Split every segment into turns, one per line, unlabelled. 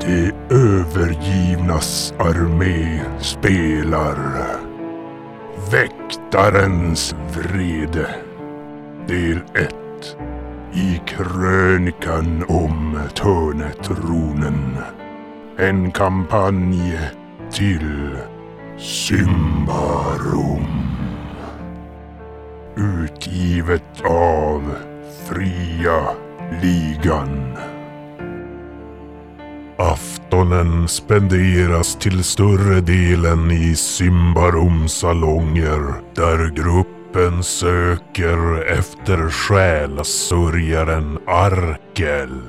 De övergivnas armé spelar Väktarens vrede Del 1 I krönikan om Törnetronen En kampanj till Symbarum Utgivet av Fria Ligan Aftonen spenderas till större delen i Symbarums salonger där gruppen söker efter själasörjaren Arkel.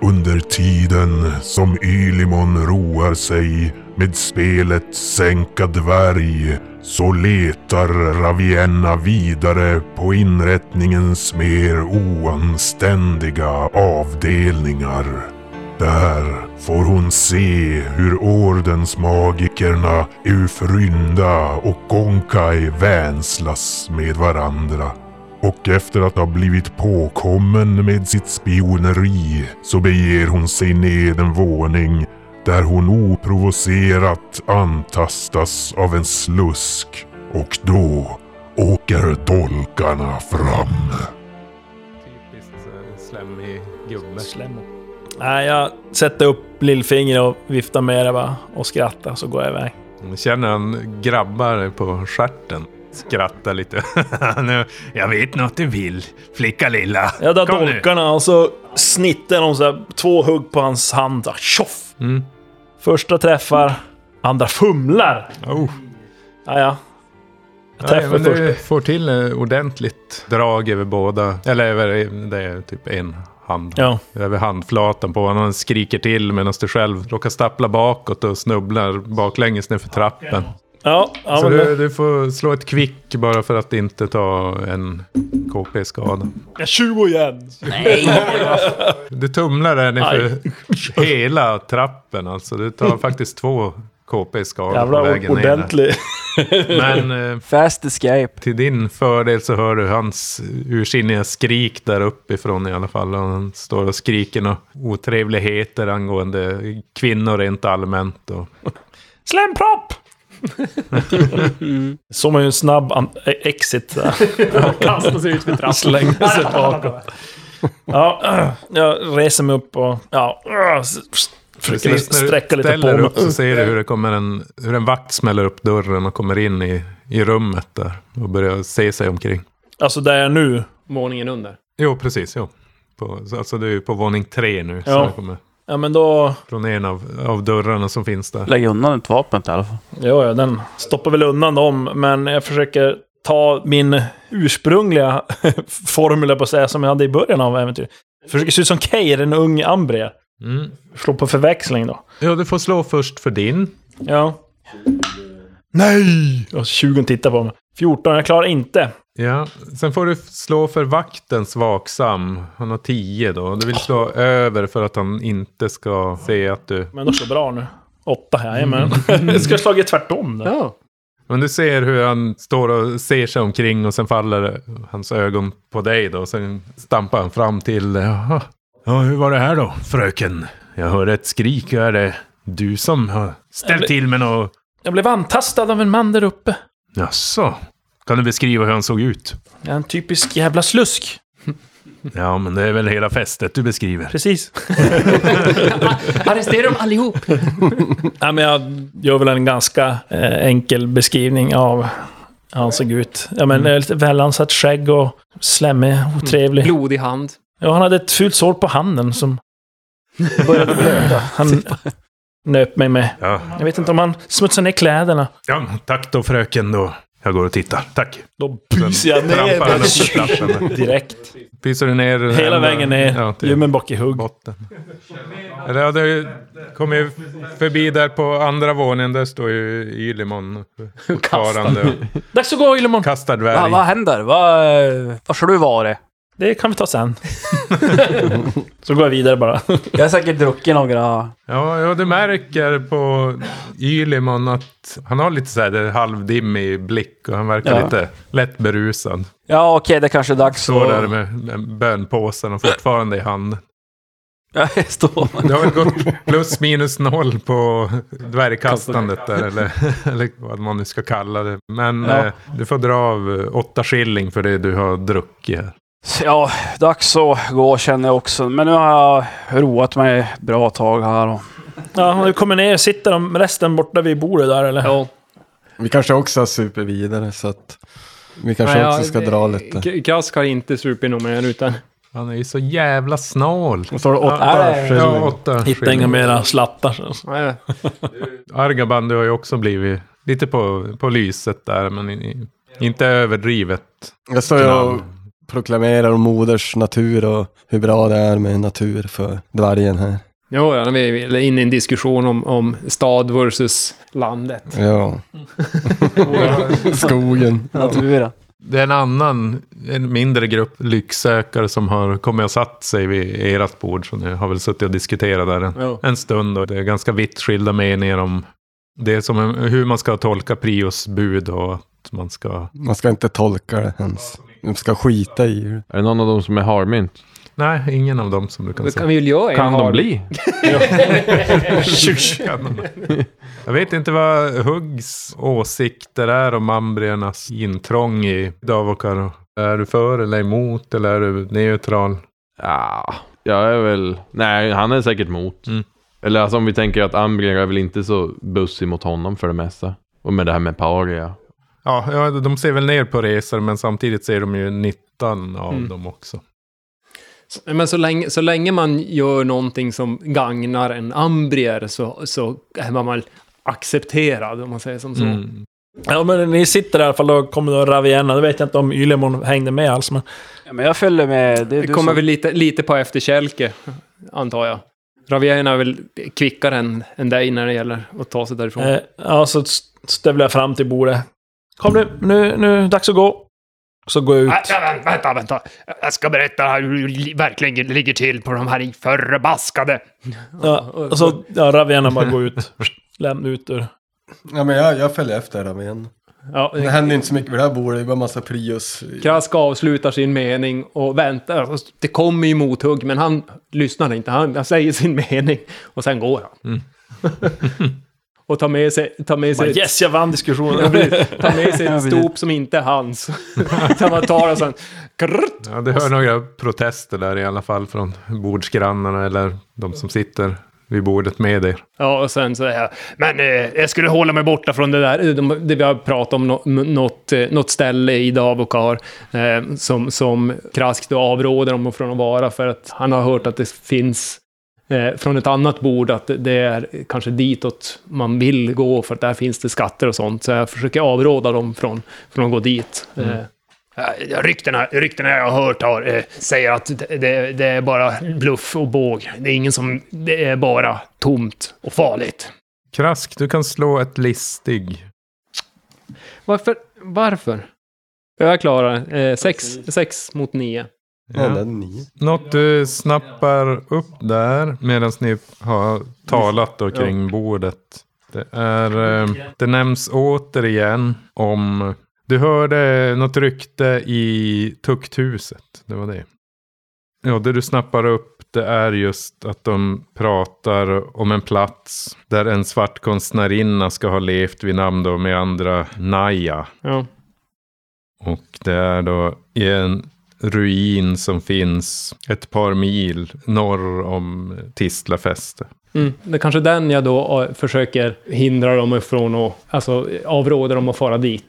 Under tiden som Ylimon roar sig med spelet Sänka dvärg så letar Ravienna vidare på inrättningens mer oanständiga avdelningar. Där får hon se hur ordensmagikerna Eufrynda och Gonkai vänslas med varandra. Och efter att ha blivit påkommen med sitt spioneri så beger hon sig ned en våning där hon oprovocerat antastas av en slusk och då åker dolkarna fram.
Typiskt eh, slemmig gubbe.
Nej, jag sätter upp lillfingret och viftar med det bara och skrattar så går jag iväg.
Jag Känner han grabbar på stjärten. Skrattar lite. nu, jag vet något du vill, flicka lilla.
Jag drar
Kom nu.
dolkarna och så snittar de så här, två hugg på hans hand. Så här, tjoff!
Mm.
Första träffar, andra fumlar.
Oh.
Ja, ja. Jag
Nej,
träffar
men
först.
du får till eh, ordentligt drag över båda. Eller över, det är typ en hand.
Ja.
Över handflatan på honom. Han skriker till medan du själv råkar stappla bakåt och snubblar baklänges nerför trappen.
Ja, ja
Så
men,
du, du får slå ett kvick bara för att inte ta en KP-skada.
jag 20 igen.
Du tumlar där nerför
Aj.
hela trappen alltså. Du
Mm.
tar faktiskt två KP-skador på
Jävlar,
vägen ner.
ordentlig.
där. Men eh,
Fast escape.
till din fördel så hör du hans ursinniga skrik där uppifrån i alla fall. Han står och skriker några otrevligheter angående kvinnor rent allmänt. Och
Slempropp! Som en snabb an- e- exit. så här.
Kastar sig ut för trappan.
Slängde sig bakåt. Ja, jag reser mig upp och ja, s- s- försöker
precis när du
sträcka lite på
ställer
mig.
upp så ser du hur, det kommer en, hur en vakt smäller upp dörren och kommer in i, i rummet där och börjar se sig omkring.
Alltså där jag är nu.
Våningen under.
Jo, precis. Jo. På, så- alltså du är på våning tre nu. Så
Ja.
det kommer
Ja men då...
från en av, av dörrarna som finns där.
Lägg undan ett vapen i alla fall.
Ja, ja, den stoppar väl undan dem, men jag försöker ta min ursprungliga formel, på att säga, som jag hade i början av äventyret. Försöker se ut som Keir, en ung Ambria.
Mm.
Slå på förväxling då.
Ja, du får slå först för din.
Ja. Nej! Och 20 tittar på mig. 14, jag klarar inte.
Ja, sen får du slå för vaktens vaksam. Han har 10 då. Du vill slå över för att han inte ska se att du...
Men då så bra nu. 8, jajamän. Jag ska ha slagit tvärtom då.
Ja.
Men du ser hur han står och ser sig omkring och sen faller hans ögon på dig då. Sen stampar han fram till... Jaha. Ja, hur var det här då, fröken? Jag hörde ett skrik. Är det du som har ställt till med något?
Jag blev antastad av en man där uppe.
Jaså? Kan du beskriva hur han såg ut?
Jag är en typisk jävla slusk.
Ja, men det är väl hela festet du beskriver.
Precis.
Arrestera dem allihop!
Nej, men jag gör väl en ganska eh, enkel beskrivning av hur han såg ut. Ja, men eh, lite välansat skägg och slemmig, otrevlig.
Blodig hand.
Ja, han hade ett fult sår på handen som började blöda. Han nöp mig med.
Ja,
Jag vet inte om han smutsade ner kläderna.
Ja, tack då fröken då. Jag går och tittar. Tack.
Då pyser jag ner
trampar han upp för
mig.
trappan.
direkt.
Pyser du ner? den
Hela
ända-
vägen ner.
Ja, typ. till
Gömmer bak i hugg.
botten. Eller ja, du kom ju förbi där på andra våningen. Där står ju Ylimon fortfarande. och
Dags att gå, Ylemon!
Kastar
Va, vad
dvärg.
händer? Va, var ska du vara?
det kan vi ta sen. så går jag vidare bara.
Jag har säkert druckit några...
Ja, ja, du märker på Ylimon att han har lite så här där halvdimmig blick och han verkar
Ja.
lite lätt berusad.
Ja, okej, det kanske är dags
Står där
att...
med, med bönpåsen och fortfarande i handen.
Ja, jag står.
Det har väl gått plus minus noll på dvärgkastandet där, eller, eller vad man nu ska kalla det. Men
Ja.
eh, du får dra av eh, åtta skilling för det du har druckit här.
Ja, dags att gå känner jag också. Men nu har jag roat mig ett bra tag här. Och...
Ja, du kommer ner, sitter de resten borta vid bordet där eller?
Ja.
Vi kanske också har super vidare så att vi kanske
Nej,
också
ja,
ska
det-
dra lite.
K- Kask har inte supit nog mer utan...
Han är ju så jävla snål.
Och så har du åtta
Ja, ja,
skilling.
Ja, åtta
Hitta inga
skilling.
mera slattar.
Nej,
Argaban, du har ju också blivit lite på, på lyset där, men i- i, inte överdrivet.
Jag står ju och proklamerar om moders natur och hur bra det är med natur för dvärgen här.
Jo, ja, när vi är inne i en diskussion om, om stad versus landet.
Ja. Skogen.
Naturen.
Det är en annan, en mindre grupp lycksökare som har kommit och satt sig vid ert bord. Så ni har väl suttit och diskuterat där en,
Jo.
en stund. Och det är ganska vitt skilda meningar om det är som en, hur man ska tolka Prios bud och att man ska...
Man ska inte tolka det ens. Man ska skita i det.
Är det någon av dem som är harmynt?
Nej, ingen av dem som du kan
Då
säga.
kan vi ju göra en
Kan de
har-
bli?
Kan de? Jag vet inte vad Huggs åsikter är om ambriernas intrång i Davokar. Är du för eller emot eller är du neutral?
Ja, jag är väl... Nej, han är säkert mot.
Mm.
Eller alltså om vi tänker att Ambrier är väl inte så bussig mot honom för det mesta. Och med det här med paria.
Ja, ja, de ser väl ner på resor men samtidigt ser de ju nyttan av
Mm.
dem också.
Men så länge, så länge man gör någonting som gagnar en ambrier så, så är man väl accepterad, om man säger som så.
Mm.
Ja, men ni sitter i alla fall och kommer att Ravienna. Det vet jag inte om Ylemon hängde med alls, men...
Ja, men jag följer med. Det är
Det
du
kommer
som...
väl lite, lite på efterkälke, antar jag. Ravierna är väl kvickare än, än dig när det gäller att ta sig därifrån.
Eh, ja, så st- stövlar jag fram till bordet. Kom nu, nu, nu, dags att gå. Så går jag ut.
Ja, vänta, vänta, vänta. Jag ska berätta hur det verkligen ligger till på de här förbaskade
Ja, och så ja, Ravienna bara går ut. Lämna ut ur.
Ja men jag, jag följer efter dem igen.
Ja,
Det händer inte så mycket vid det här bordet, det är bara massa prius.
Krask avslutar sin mening och väntar. Och Det kommer ju mothugg, men han lyssnar inte. Han, han säger sin mening och sen går han. och tar med sig, tar med
Mm. Bara,
sig,
yes, jag vann
Ja,
diskussionen.
precis. tar med sig ett stop som inte är hans. så man tar och sen... Krrt,
Ja, det hör några protester där i alla fall från bordsgrannarna eller de som sitter vid bordet med er.
Ja, och sen så är jag, men eh, jag skulle hålla mig borta från det där, eh, de, det vi har pratat om, nå- m- något, eh, något ställe i Davokar eh, som, som Krask då avråder om från att vara för att han har hört att det finns eh, från ett annat bord att det är kanske ditåt man vill gå för att där finns det skatter och sånt. Så jag försöker avråda dem från, från att gå dit. Eh,
eh, ryktena, ryktena jag har hört har, eh, säger att det, det, det är bara bluff och båg. Det är ingen som... Det är bara tomt och farligt.
Krask, du kan slå ett listig.
Varför? Varför? Jag klarar eh, sex, sex mot nio.
Ja. det är ni.
Något du snappar upp där medan ni har talat då kring bordet. Det, är, eh, det nämns återigen om... Du hörde något rykte i tukthuset. Det var det. Ja, det du snappar upp det är just att de pratar om en plats där en svart konstnärinna ska ha levt vid namn då med andra Naya.
Ja.
Och det är då i en ruin som finns ett par mil norr om Tistla fäste.
Mm. Det är kanske den jag då eh, försöker hindra dem ifrån att, alltså eh, avråda dem att fara dit.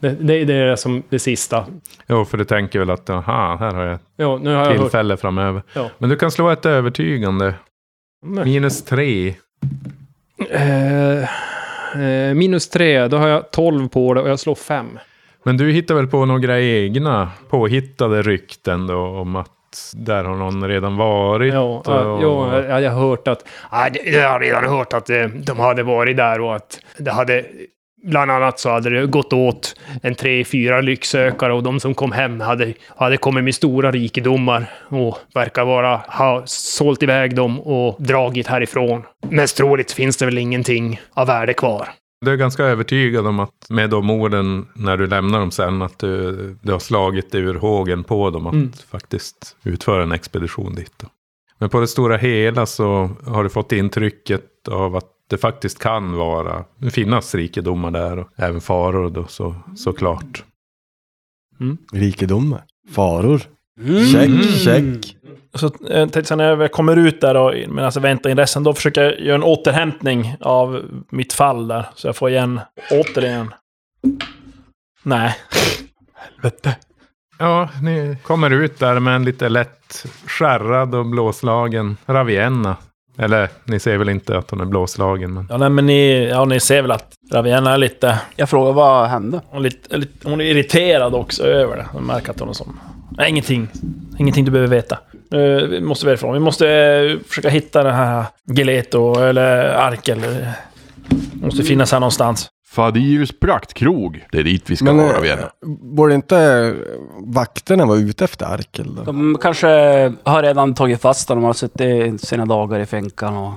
Det, det, det är det som det sista.
Ja, Mm. för du tänker väl att aha, här har jag
Ja, nu har jag hört.
tillfälle framöver.
Ja.
Men du kan slå ett övertygande. Minus tre.
Eh, eh, minus tre, då har jag 12 på det och jag slår fem.
Men du hittar väl på några egna påhittade rykten då om att där har någon redan varit?
Ja,
och-
eh, ja, jag jag har hört att
Ja, det- Jag har redan hört att eh, de hade varit där och att det hade
Bland annat så hade det gått åt en tre, fyra lycksökare och de som kom hem hade, hade kommit med stora rikedomar och verkar vara, ha sålt iväg dem och dragit härifrån. Mest troligt finns det väl ingenting av värde kvar.
Du är ganska övertygad om att med de orden, när du lämnar dem sen, att du, du har slagit dig ur hågen på dem att faktiskt utföra en expedition dit. Då. Men på det stora hela så har du fått intrycket av att det faktiskt kan vara, finnas rikedomar där och även faror då så, såklart.
Rikedomar. Faror. Check, check.
Så eh, tänkte jag när jag kommer ut där och men alltså väntar in resten, då försöker jag göra en återhämtning av mitt fall där. Så jag får igen, återigen. Nej. Helvete.
Ja, ni kommer ut där med en lite lätt skärrad och blåslagen Ravienna. Eller ni ser väl inte att hon är blåslagen, men
Ja, nej, men ni, ja, ni ser väl att Ravienna är lite,
Jag frågar vad hände?
hon är lite, lite... Hon är irriterad också över det. Jag märker att hon är som... Nej, ingenting. Ingenting du behöver veta. Eh, vi måste härifrån. Vi måste eh, försöka hitta den här Geleto eller Ark eller... Eh, Måste finnas här någonstans.
Fadirs praktkrog. Det är dit vi ska
Men
vara,
eh,
Vienna.
borde inte vakterna vara ute efter Arkel då?
Mm,
De kanske har redan tagit fast honom och har suttit sina dagar i finkan och...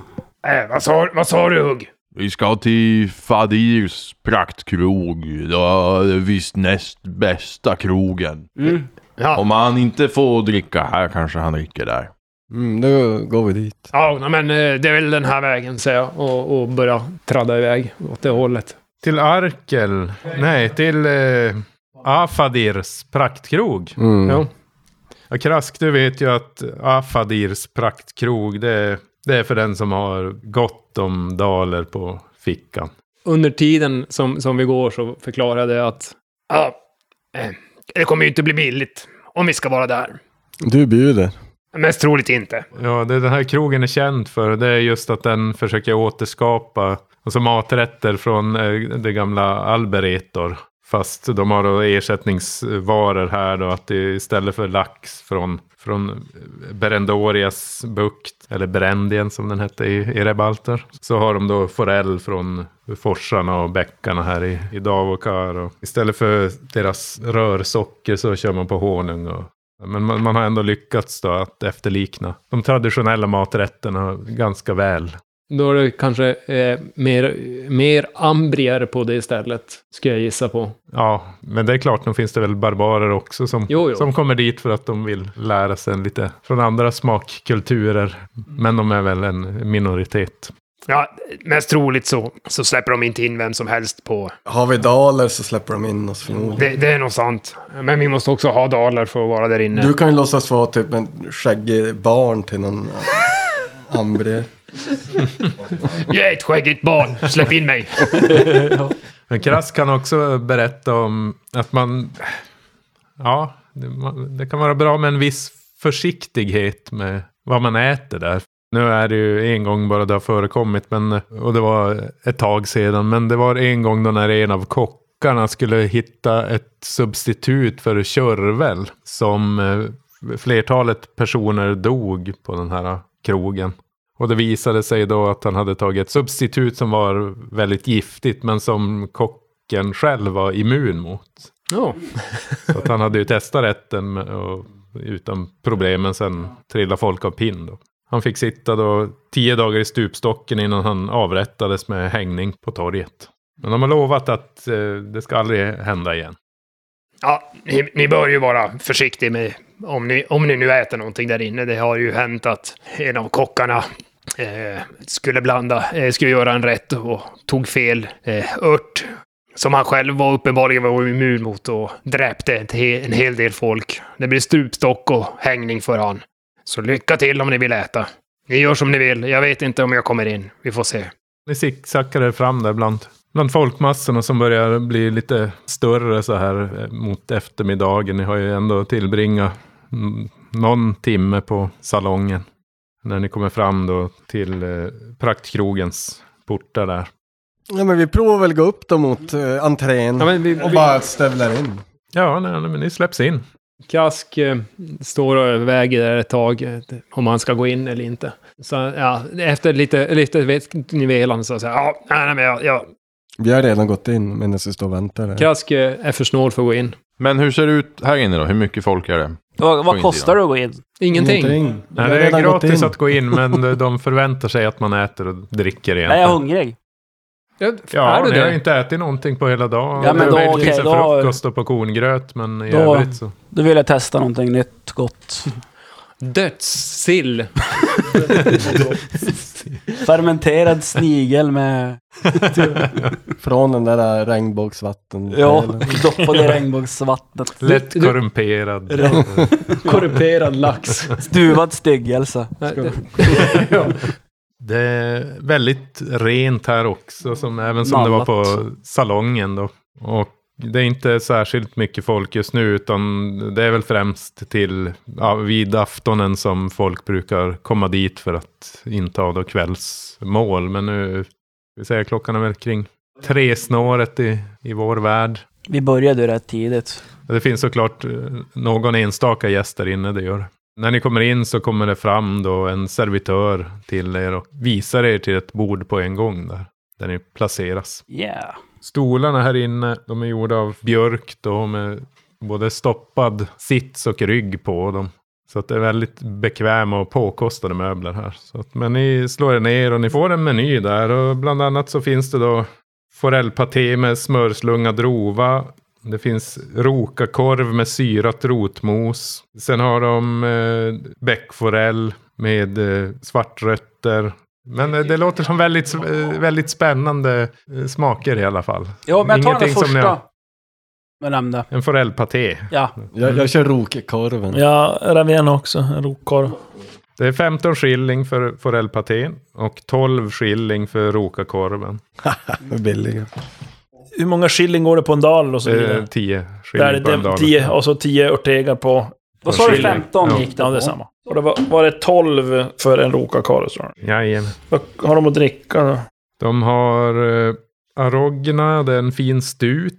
Äh, vad, sa, vad sa du, Hugg?
Vi ska till Fadirs praktkrog. Ja, det är visst näst bästa krogen.
Mm.
Ja,
Om han inte får dricka här kanske han dricker där.
Mm, då går vi dit.
ja nej, men eh, det är väl den här vägen, säger jag. Och, och börjar
Tradda iväg åt det hållet.
Till Arkel. Nej, till eh, Afadirs praktkrog.
Mm.
Ja.
Ja, Krask, du vet ju att Afadirs praktkrog, det är, det är för den som har gott om daler på fickan.
Under tiden som, som vi går så förklarade jag att
Ja, eh, det kommer ju inte bli billigt om vi ska vara där.
Du bjuder.
Mest troligt inte.
Ja, det den här krogen är känd för, det är just att den försöker återskapa alltså maträtter från eh, det gamla Alberetor. Fast de har då ersättningsvaror här då, att det är istället för lax från, från eh, Berendorias bukt, eller Berendien som den hette i, i Rebalter, så har de då forell från forsarna och bäckarna här i, i Davokar. Och istället för deras rörsocker så kör man på honung och men man, man har ändå lyckats då att efterlikna de traditionella maträtterna ganska väl.
Då är det kanske eh, mer, mer ambrier på det stället, skulle jag gissa på.
Ja, men det är klart, nu finns det väl barbarer också som,
Jo, jo.
som kommer dit för att de vill lära sig lite från andra smakkulturer. Men de är väl en minoritet.
Ja, mest troligt så, så släpper de inte in vem som helst på...
Har vi daler så släpper de in oss förmodligen.
Det, det är nog sant. Men vi måste också ha dalar för att vara där inne.
Du kan ju låtsas vara typ en skäggig barn till någon eh, ambre.
Jag är ett skäggigt barn, släpp in mig!
Men Krass kan också berätta om att man... Ja, det, man, det kan vara bra med en viss försiktighet med vad man äter där. Nu är det ju en gång bara det har förekommit, men, och det var ett tag sedan, men det var en gång då när en av kockarna skulle hitta ett substitut för körvel som eh, flertalet personer dog på den här krogen. Och det visade sig då att han hade tagit ett substitut som var väldigt giftigt men som kocken själv var immun mot.
Ja.
Så att han hade ju testat rätten med- och utan problem men sen trillade folk av pinn då. Han fick sitta då tio dagar i stupstocken innan han avrättades med hängning på torget. Men de har lovat att eh, det ska aldrig hända igen.
Ja, ni, ni bör ju vara försiktiga med... Om ni, om ni nu äter någonting där inne. Det har ju hänt att en av kockarna eh, skulle blanda, eh, skulle göra en rätt och tog fel eh, ört. Som han själv var uppenbarligen var immun mot och dräpte ett, he- en hel del folk. Det blir stupstock och hängning för han. Så lycka till om ni vill äta. Ni gör som ni vill. Jag vet inte om jag kommer in. Vi får se.
Ni zigzaggar er fram där bland, bland folkmassorna som börjar bli lite större så här eh, mot eftermiddagen. Ni har ju ändå tillbringat mm, någon timme på salongen. När ni kommer fram då till eh, praktkrogens portar där.
Ja men vi provar väl gå upp då mot eh, entrén.
Ja, men vi,
och
vi,
bara stövlar in.
Ja, nej, nej, men ni släpps in.
Kask eh, står och överväger där ett tag eh, om han ska gå in eller inte. Så ja, efter lite, lite vet- nivelande så säger jag,
Ja, nej, nej, men jag, jag,
Vi har redan gått in medan vi står och väntar. här.
Krask eh, är för snål för att gå in.
Men hur ser det ut här inne då? Hur mycket folk är det?
Vad,
På
vad
insidan.
kostar det att gå in?
Ingenting.
Vi har
Nej, det är
redan gått
gratis
in.
att gå in, men de förväntar sig att man äter och dricker
Är jag
egentligen.
hungrig?
Ja,
Ja,
är du
ni har
det?
ju inte ätit någonting på hela dagen.
Ja, men
Det
då-
är möjligtvis
okej,
en
då-
frukost och på korngröt, men i
Då-
övrigt så...
Då vill jag testa någonting nytt gott.
Dödssill.
Fermenterad snigel med...
Från den där regnbågsvatten.
Ja, doppad i regnbågsvattnet.
Lätt
du-
korrumperad.
Korrumperad lax.
Stuvad styggelse.
Nej, det-
Det är väldigt rent här också, som, även som det var på salongen då. Och det är inte särskilt mycket folk just nu, utan det är väl främst till ja, vid aftonen som folk brukar komma dit för att inta då kvällsmål. Men nu, vi säger klockan är väl kring tresnåret i, i vår värld.
Vi började ju rätt tidigt.
Det finns såklart eh, någon enstaka gäst där inne, det gör det. När ni kommer in så kommer det fram då en servitör till er och visar er till ett bord på en gång där, där ni placeras.
Yeah.
Stolarna här inne, de är gjorda av björk då med både stoppad sits och rygg på dem. Så att det är väldigt bekväma och påkostade möbler här. Så att, men ni slår er ner och ni får en meny där och bland annat så finns det då forellpaté med smörslungad rova. Det finns rokakorv med syrat rotmos. Sen har de eh, bäckforell med eh, svartrötter. Men eh, det låter som väldigt, eh, väldigt spännande eh, smaker i alla fall.
Ja, men jag tar den
Ingenting som ni har-
första. Jag nämnde.
En forellpaté.
Ja.
Jag, jag kör rokkorven.
Ja, Ravena också. En Rokkorv.
Det är 15 skilling för forellpatén och 12 skilling för rokakorven.
Det är billigare.
Hur många skilling går det på en dal och så
Det
vidare?
är 10 Eh, skilling
Där är
på en
Eh, det
dag.
tio, och så tio örtegar på...
Vad sa du?
Chili.
15
Ja.
gick det
Ja, det är
på.
samma. Och det var, var det 12 för en Rokakorv, sa du?
Jajamän.
Vad har de att dricka då?
De har eh, arogna, det är en fin stut.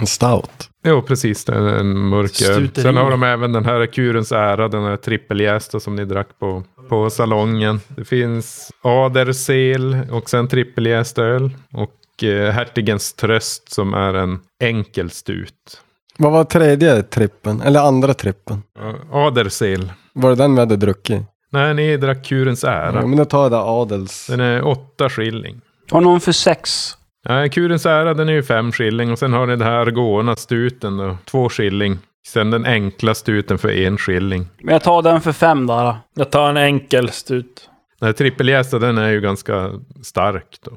En stout.
Jo, precis. Det är en mörk öl.
Stuteri.
Sen har de även den här Kurens ära, den här trippeljästa som ni drack på, på salongen. Det finns adersel och sen trippeljäst öl. Och eh, hertigens tröst som är en enkel stut.
Vad var tredje trippen? Eller andra trippen?
Eh, Adersel.
Var det den vi hade druckit?
Nej, ni drack Kurens ära.
Ja, men då tar jag det adels.
Den är åtta skilling.
Har någon för sex?
Nej, kurens ära den är ju fem skilling och sen har ni det här gåorna stuten då, två skilling. Sen den enkla stuten för en skilling.
Men jag tar den för fem där. då.
Jag tar en enkel stut.
Den här trippeljästa E, den är ju ganska stark då.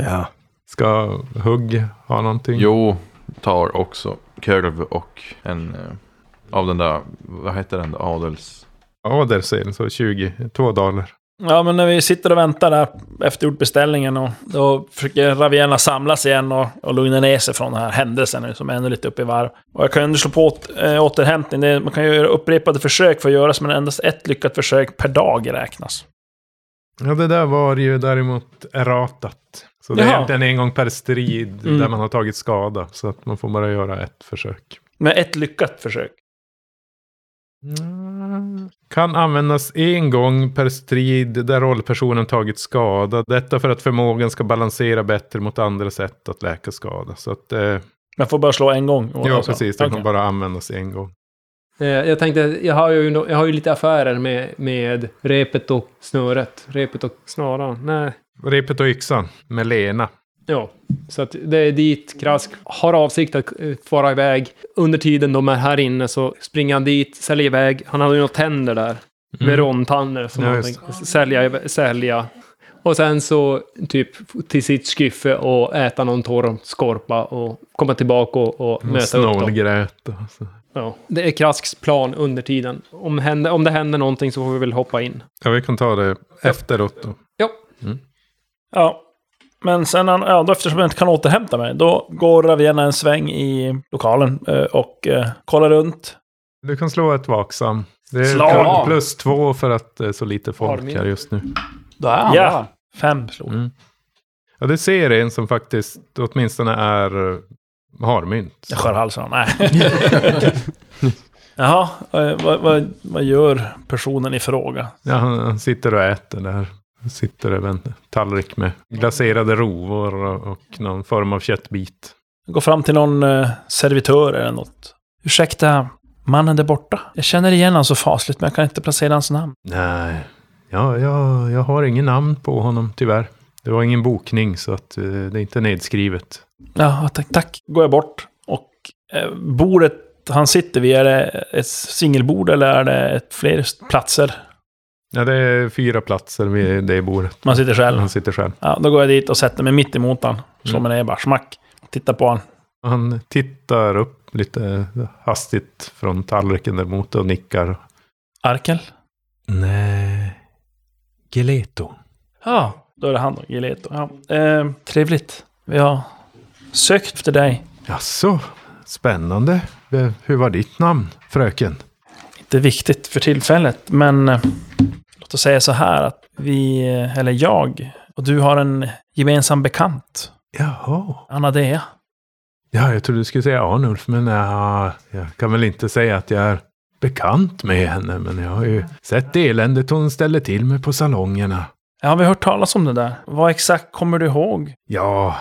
Ja.
Ska hugg ha någonting?
Jo, tar också korv och en eh, av den där, vad heter den, där? adels...
Ja, där ser ni, så 20, två daler.
Ja, men när vi sitter och väntar där efter gjort beställningen och då försöker Ravena samlas igen och, och lugna ner sig från den här händelsen nu som är ännu lite uppe i varv. Och jag kan ju ändå slå på åt, eh, återhämtning. Det, man kan ju göra upprepade försök för att göras, men endast ett lyckat försök per dag räknas.
Ja, det där var ju däremot erratat. Så det är
Jaha.
egentligen en gång per strid
Mm.
där man har tagit skada. Så att man får bara göra ett försök.
Med ett lyckat försök. Mm.
Kan användas en gång per strid där rollpersonen tagit skada. Detta för att förmågan ska balansera bättre mot andra sätt att läka skada. Så att, eh,
Man får bara slå en gång.
ja, precis. Den
alltså. Okej.
kan bara användas en gång.
Eh, Jag tänkte, jag har ju, no- jag har ju lite affärer med, med repet och snöret. Repet och snaran. Nej.
Repet och yxan med Lena.
Ja, så att det är dit Krask har avsikt att eh, fara iväg. Under tiden de är här inne så springer han dit, säljer iväg. Han hade ju några tänder där. Verontänder som
Ja,
han
just.
tänkte sälja, iv- sälja. Och sen så typ till sitt skyffe och äta någon torr skorpa och komma tillbaka och, och
Och
möta upp dem.
Snålgröt. och så.
Ja. Det är Krasks plan under tiden. Om, händer, om det händer någonting så får vi väl hoppa in.
Ja, vi kan ta det efteråt då.
Ja,
Ja. Men sen, han- ja, då eftersom jag inte kan återhämta mig, då går Ravena en sväng i lokalen eh, och eh, kollar runt.
Du kan slå ett vaksam. Det är
Slå av.
plus två för att det är så lite folk
min.
här just nu.
Då är han
Ja.
där.
Fem slog.
Mm. Ja, du ser en som faktiskt åtminstone är eh, harmynt.
Jag skär halsen av honom. Nej. Jaha, eh, vad, vad, vad gör personen i fråga?
Ja, han, han sitter och äter där. sitter över en tallrik med glaserade rovor och, och någon form av köttbit.
Gå fram till någon eh, servitör eller något. Ursäkta, mannen där borta. Jag känner igen honom så fasligt, men jag kan inte placera hans namn.
Nej, ja, jag, jag har ingen namn på honom tyvärr. Det var ingen bokning så att, eh, det är inte nedskrivet.
Ja, tack, tack. Går jag bort. Och eh, bordet han sitter vid, är det ett singelbord eller är det ett fler platser?
Ja, det är fyra platser vid det bordet.
Man sitter själv?
Han sitter själv.
Ja, då går jag dit och sätter mig mitt emot han. Slår mig ner bara, smack. Tittar på han.
Han tittar upp lite hastigt från tallriken där mot och nickar.
Arkel?
Nej. Geleto.
Ja, då är det han då, Gileto. Ja. Eh, trevligt. Vi har sökt efter dig.
Jaså, spännande. Eh, Hur var ditt namn, fröken?
Inte viktigt för tillfället, men eh, låt oss säga så här att vi, eh, eller jag, och du har en gemensam bekant.
Jaha.
Anadea.
Ja, jag trodde du skulle säga Arnulf, men ja, jag kan väl inte säga att jag är bekant med henne. Men jag har ju sett det eländet hon ställer till med på salongerna.
Ja, vi har hört talas om det där. Vad exakt kommer du ihåg?
Ja,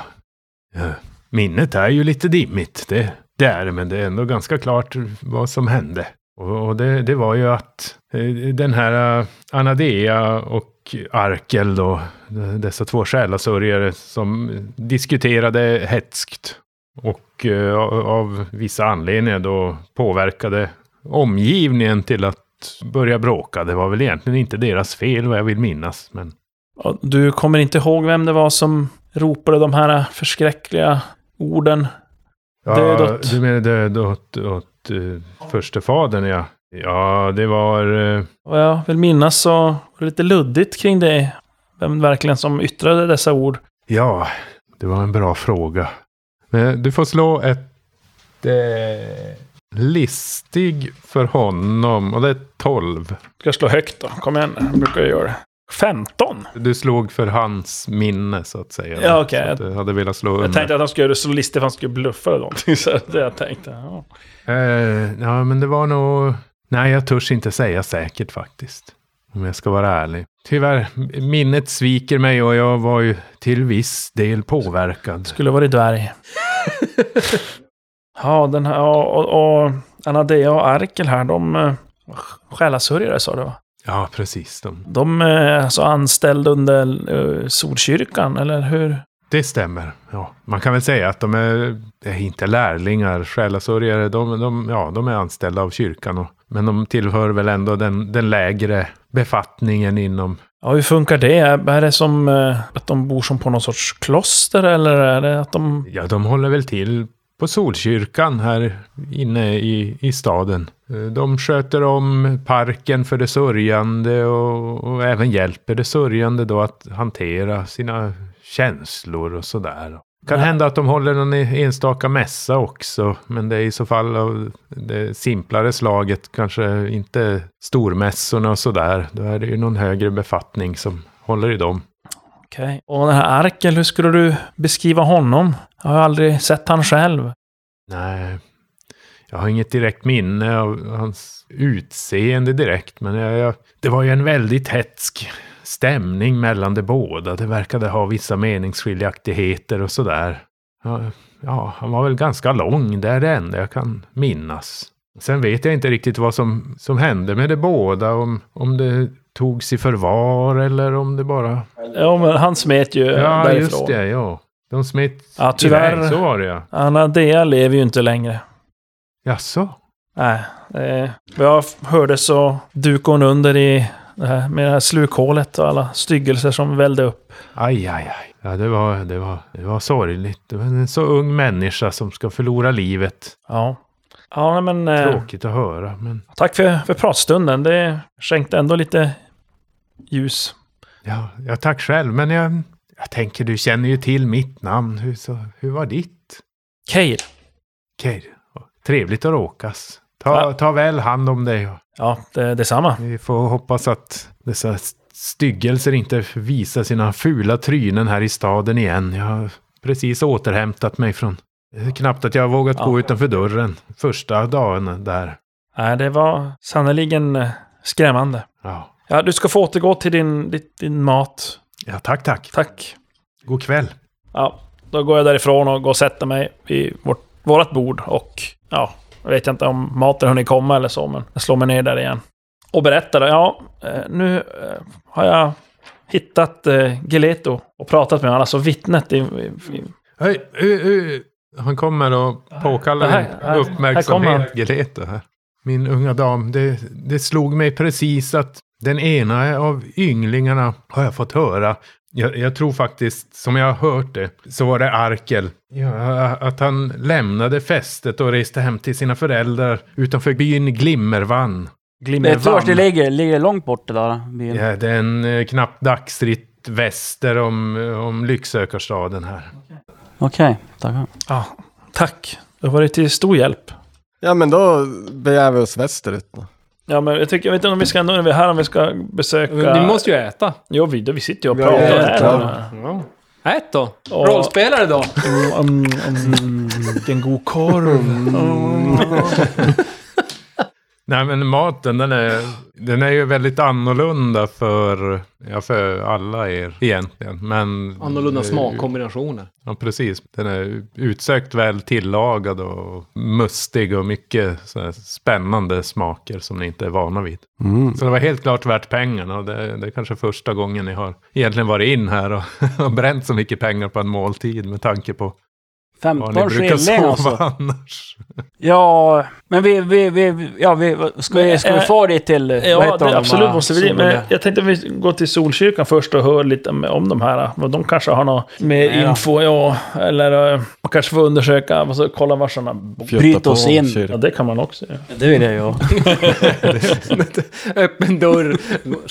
eh, minnet är ju lite dimmigt. Det, det är det, men det är ändå ganska klart vad som hände. Och, och det, det var ju att eh, den här eh, Anadea och Arkel då, de- dessa två själasörjare som diskuterade hätskt och eh, av vissa anledningar då påverkade omgivningen till att börja bråka. Det var väl egentligen inte deras fel vad jag vill minnas, men
Ja, Du kommer inte ihåg vem det var som ropade de här förskräckliga orden?
Ja,
Dödot.
Du menar död åt, åt eh, förste fadern, ja. Ja, det var... eh,
Vad jag vill minnas så var det lite luddigt kring det. Vem verkligen som yttrade dessa ord.
ja, det var en bra fråga. Men du får slå ett... Eh, listig för honom, och det är 12.
Ska jag slå högt då? Kom igen, jag brukar jag göra det. 15?
Du slog för hans minne, så att säga.
Ja, okej.
Så att Du hade velat slå
Jag
under.
tänkte att han skulle göra det så listigt för han skulle bluffa eller någonting. Så det jag tänkte. Ja.
Eh, ja, men det var nog... Nej, jag törs inte säga säkert faktiskt. Om jag ska vara ärlig. Tyvärr, minnet sviker mig och jag var ju till viss del påverkad.
Skulle varit dvärg. Ja, den här, och, och, och Anadea och Arkel här, de... eh, Själasörjare sa du va?
Ja, precis. De.
De eh, är alltså anställda under eh, Solkyrkan, eller hur?
Det stämmer. Ja. Man kan väl säga att de är, det är inte lärlingar, själasörjare. De, de, ja, de är anställda av kyrkan. Och, men de tillhör väl ändå den, den lägre befattningen inom...
Ja, hur funkar det? Är det som eh, att de bor som på någon sorts kloster, eller är det att de...
Ja, de håller väl till på Solkyrkan här inne i, i staden. Eh, De sköter om parken för det sörjande och, och även hjälper det sörjande då att hantera sina känslor och sådär. Kan
Ja.
hända att de håller någon e-, enstaka mässa också, men det är i så fall av det simplare slaget, kanske inte stormässorna och sådär. Då är det ju någon högre befattning som håller i dem.
Okej. Och den här Arkel, hur skulle du beskriva honom? Jag har aldrig sett han själv.
Nej, jag har inget direkt minne av hans utseende direkt, men jag, jag, det var ju en väldigt hetsk stämning mellan de båda. Det verkade ha vissa meningsskiljaktigheter och sådär. Ja, ja, han var väl ganska lång, det är det enda jag kan minnas. Sen vet jag inte riktigt vad som, som hände med de båda, om, om det togs i förvar eller om det bara...
Ja, men han smet ju eh,
Ja,
därifrån.
just det, ja. De smet
Ja, tyvärr.
iväg, så var det ja.
Anadea lever ju inte längre.
Jaså?
Nej. Eh, vad jag f- hörde så dukade hon under i det här, med det här slukhålet och alla styggelser som vällde upp.
Aj, aj, aj. Ja, det var, det var, det var sorgligt. Det var en så ung människa som ska förlora livet.
Ja. Ja, nej, men... Eh,
Tråkigt att höra, men
tack för, för pratstunden. Det skänkte ändå lite ljus.
ja, jag tack själv. Men jag, jag tänker, du känner ju till mitt namn. Hur, så, hur var ditt?
Keir.
Okej, trevligt att råkas. Ta, ta väl hand om dig.
Ja, det, detsamma.
Vi får hoppas att dessa styggelser inte visar sina fula trynen här i staden igen. Jag har precis återhämtat mig från... det är Knappt att jag har vågat
Ja.
gå utanför dörren första dagen där.
Nej, det var sannerligen eh, skrämmande.
Ja.
Ja, du ska få återgå till din, ditt- din mat.
Ja, tack, tack.
Tack.
God kväll.
Ja, då går jag därifrån och går och sätter mig vid vårt, vårat bord och ja, jag vet inte om maten hunnit komma eller så, men jag slår mig ner där igen. Och berättar, ja, eh, nu eh, har jag hittat eh, Geleto och pratat med honom, alltså vittnet i... i, i
Hej, hej, hej. Han kommer och påkallar
Här,
din
här, här kommer han.
uppmärksamhet, Greta. Här. Min unga dam, det, det slog mig precis att den ena av ynglingarna har jag fått höra. Jag, jag tror faktiskt, som jag har hört det, så var det Arkel. Ja, att han lämnade fästet och reste hem till sina föräldrar utanför byn Glimmervann.
Vet du vart det ligger? Ligger det långt bort det där? Byn?
Ja, det är en eh, knapp dagsritt väster om, om Lycksökarstaden här.
Okej, tackar.
Ja, tack. Det har varit till stor hjälp.
Ja, men då begär vi oss västerut då.
Ja, men jag tycker, jag vet inte om vi ska ändå, när vi är här, om vi ska besöka...
Ni måste ju äta.
Jo, vi, vi sitter ju och
Vi
pratar.
har ju
här.
ätit, ja. Ät då!
Och-
Rollspelare då!
Mm, mm, mm, vilken god korv. Mm.
Nej men maten den är, den är ju väldigt annorlunda för, ja, för alla er egentligen. Men,
Annorlunda
eh,
smakkombinationer.
Ja precis, den är utsökt väl tillagad och mustig och mycket så här spännande smaker som ni inte är vana vid.
Mm.
Så det var helt klart värt pengarna och det, det är kanske första gången ni har egentligen varit in här och, och bränt så mycket pengar på en måltid med tanke på var ni
15
brukar
skilling
sova
alltså.
annars.
Ja, men vi, vi, vi, ja, vi, ska, vi, ska vi
Men,
få det till, eh, vad
Ja,
heter
det,
de
absolut
här
måste vi. Men
solen?
jag tänkte vi går till Solkyrkan först och hör lite om- om de här. Vad de kanske har något med
Ja.
info, ja. Eller eh, man kanske får undersöka, alltså, kolla var sådana bor.
Fjutta Bryt på oss in. kyrkan.
Ja, det kan man också göra.
Det vill jag ju.
Öppen dörr,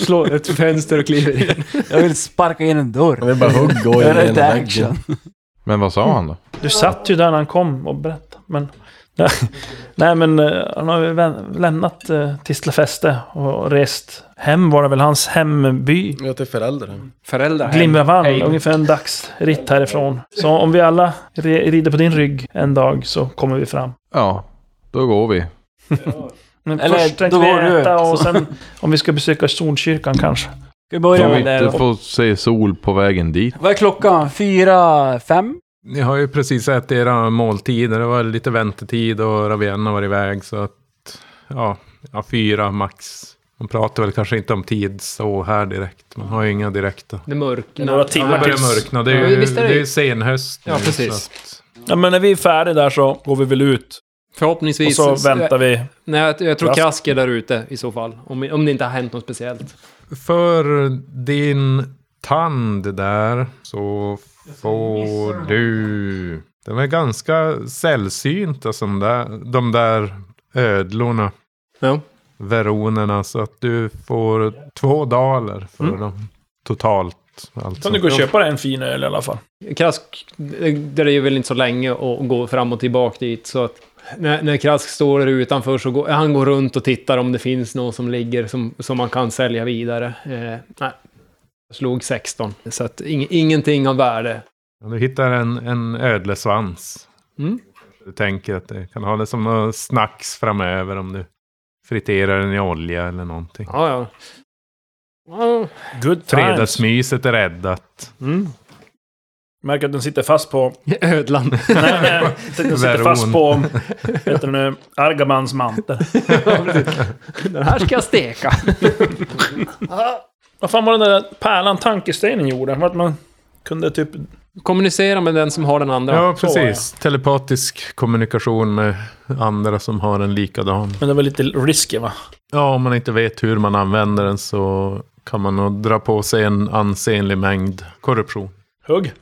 slår ett fönster och kliver in.
Jag vill sparka in en dörr.
Det är bara hugg och
Göra lite
igenom
action.
Men vad sa han då?
Du satt ju där när han kom och berättade. Men, nej, nej, men eh, han har ju vä- lämnat eh, Tislafäste och rest hem, var det väl hans hemby?
Jag till föräldrar.
Föräldrar.
Glimravall, ungefär en dagsritt härifrån. Så om vi alla re- rider på din rygg en dag så kommer vi fram.
Ja, då går vi.
Men
Eller,
först tänkte
då
vi
går du
äta
ut,
och
så.
sen om vi ska besöka Solkyrkan kanske.
Ska vi börja
Om vi
med det då?
inte får se sol på vägen dit.
Vad är klockan? Fyra, fem?
Ni har ju precis ätit era måltider. Det var lite väntetid och Ravienna var iväg. Så att, ja, ja fyra max. Man pratar väl kanske inte om tid så här direkt. Man har ju inga direkta.
Det mörknar.
Några timmar
Det börjar
tills-
mörkna. Det är ju,
Visst
det
är det
är ju senhöst.
Ja,
nu,
precis.
så att-
Ja, men när vi är färdiga där så går vi väl ut. Och
Förhoppningsvis. Eh,
så väntar vi.
Nej, jag, jag tror
Krask.
Krask är där ute i så fall. Om, om det inte har hänt något speciellt.
För din tand där så får du... De är ganska sällsynta som där, de där ödlorna.
Ja.
veronerna. Så att du får två daler för
Mm.
dem totalt. Alltså.
Kan du gå och köpa dig en fin öl i alla fall?
Krask, eh, det är ju väl inte så länge att gå fram och tillbaka dit. Så att när, när Krask står där utanför så går han går runt och tittar om det finns någon som ligger som, som man kan sälja vidare. Eh, nej. Jag slog 16, så att ing, ingenting av värde.
Du hittar en, en ödlesvans.
Mm.
Du tänker att du kan ha det som någon snacks framöver om du friterar den i olja eller någonting.
Ja, ja. Ja.
Good times.
Fredagsmyset är räddat.
Mm.
Märker att den sitter fast på...
Ödlan.
Nej, nej. Den sitter
Veron.
fast på... Vet du nu? Argamans mantel.
Den här ska jag steka.
Vad fan var den där pärlan tankestenen gjorde? Var att man kunde typ...
Kommunicera med den som har den andra.
Ja, precis. Telepatisk kommunikation med andra som har en likadan.
Men det var lite risky va?
Ja, om man inte vet hur man använder den så kan man nog dra på sig en ansenlig mängd korruption.
Hugg.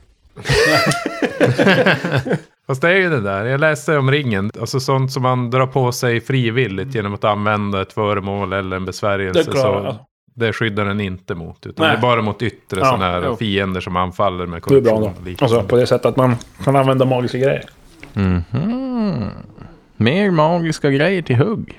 Fast det är ju det där, jag läste om ringen. Alltså sånt som man drar på sig frivilligt genom att använda ett föremål eller en besvärjelse.
Det klarar jag.
så det skyddar den inte mot. Utan
Nej.
det är bara mot yttre
Ja,
sådana här
jo.
fiender som anfaller med
Det är bra
korruption.
då.
och liknande.
Alltså på det sättet att man kan använda magiska grejer.
Mhm. Mer magiska grejer till hugg.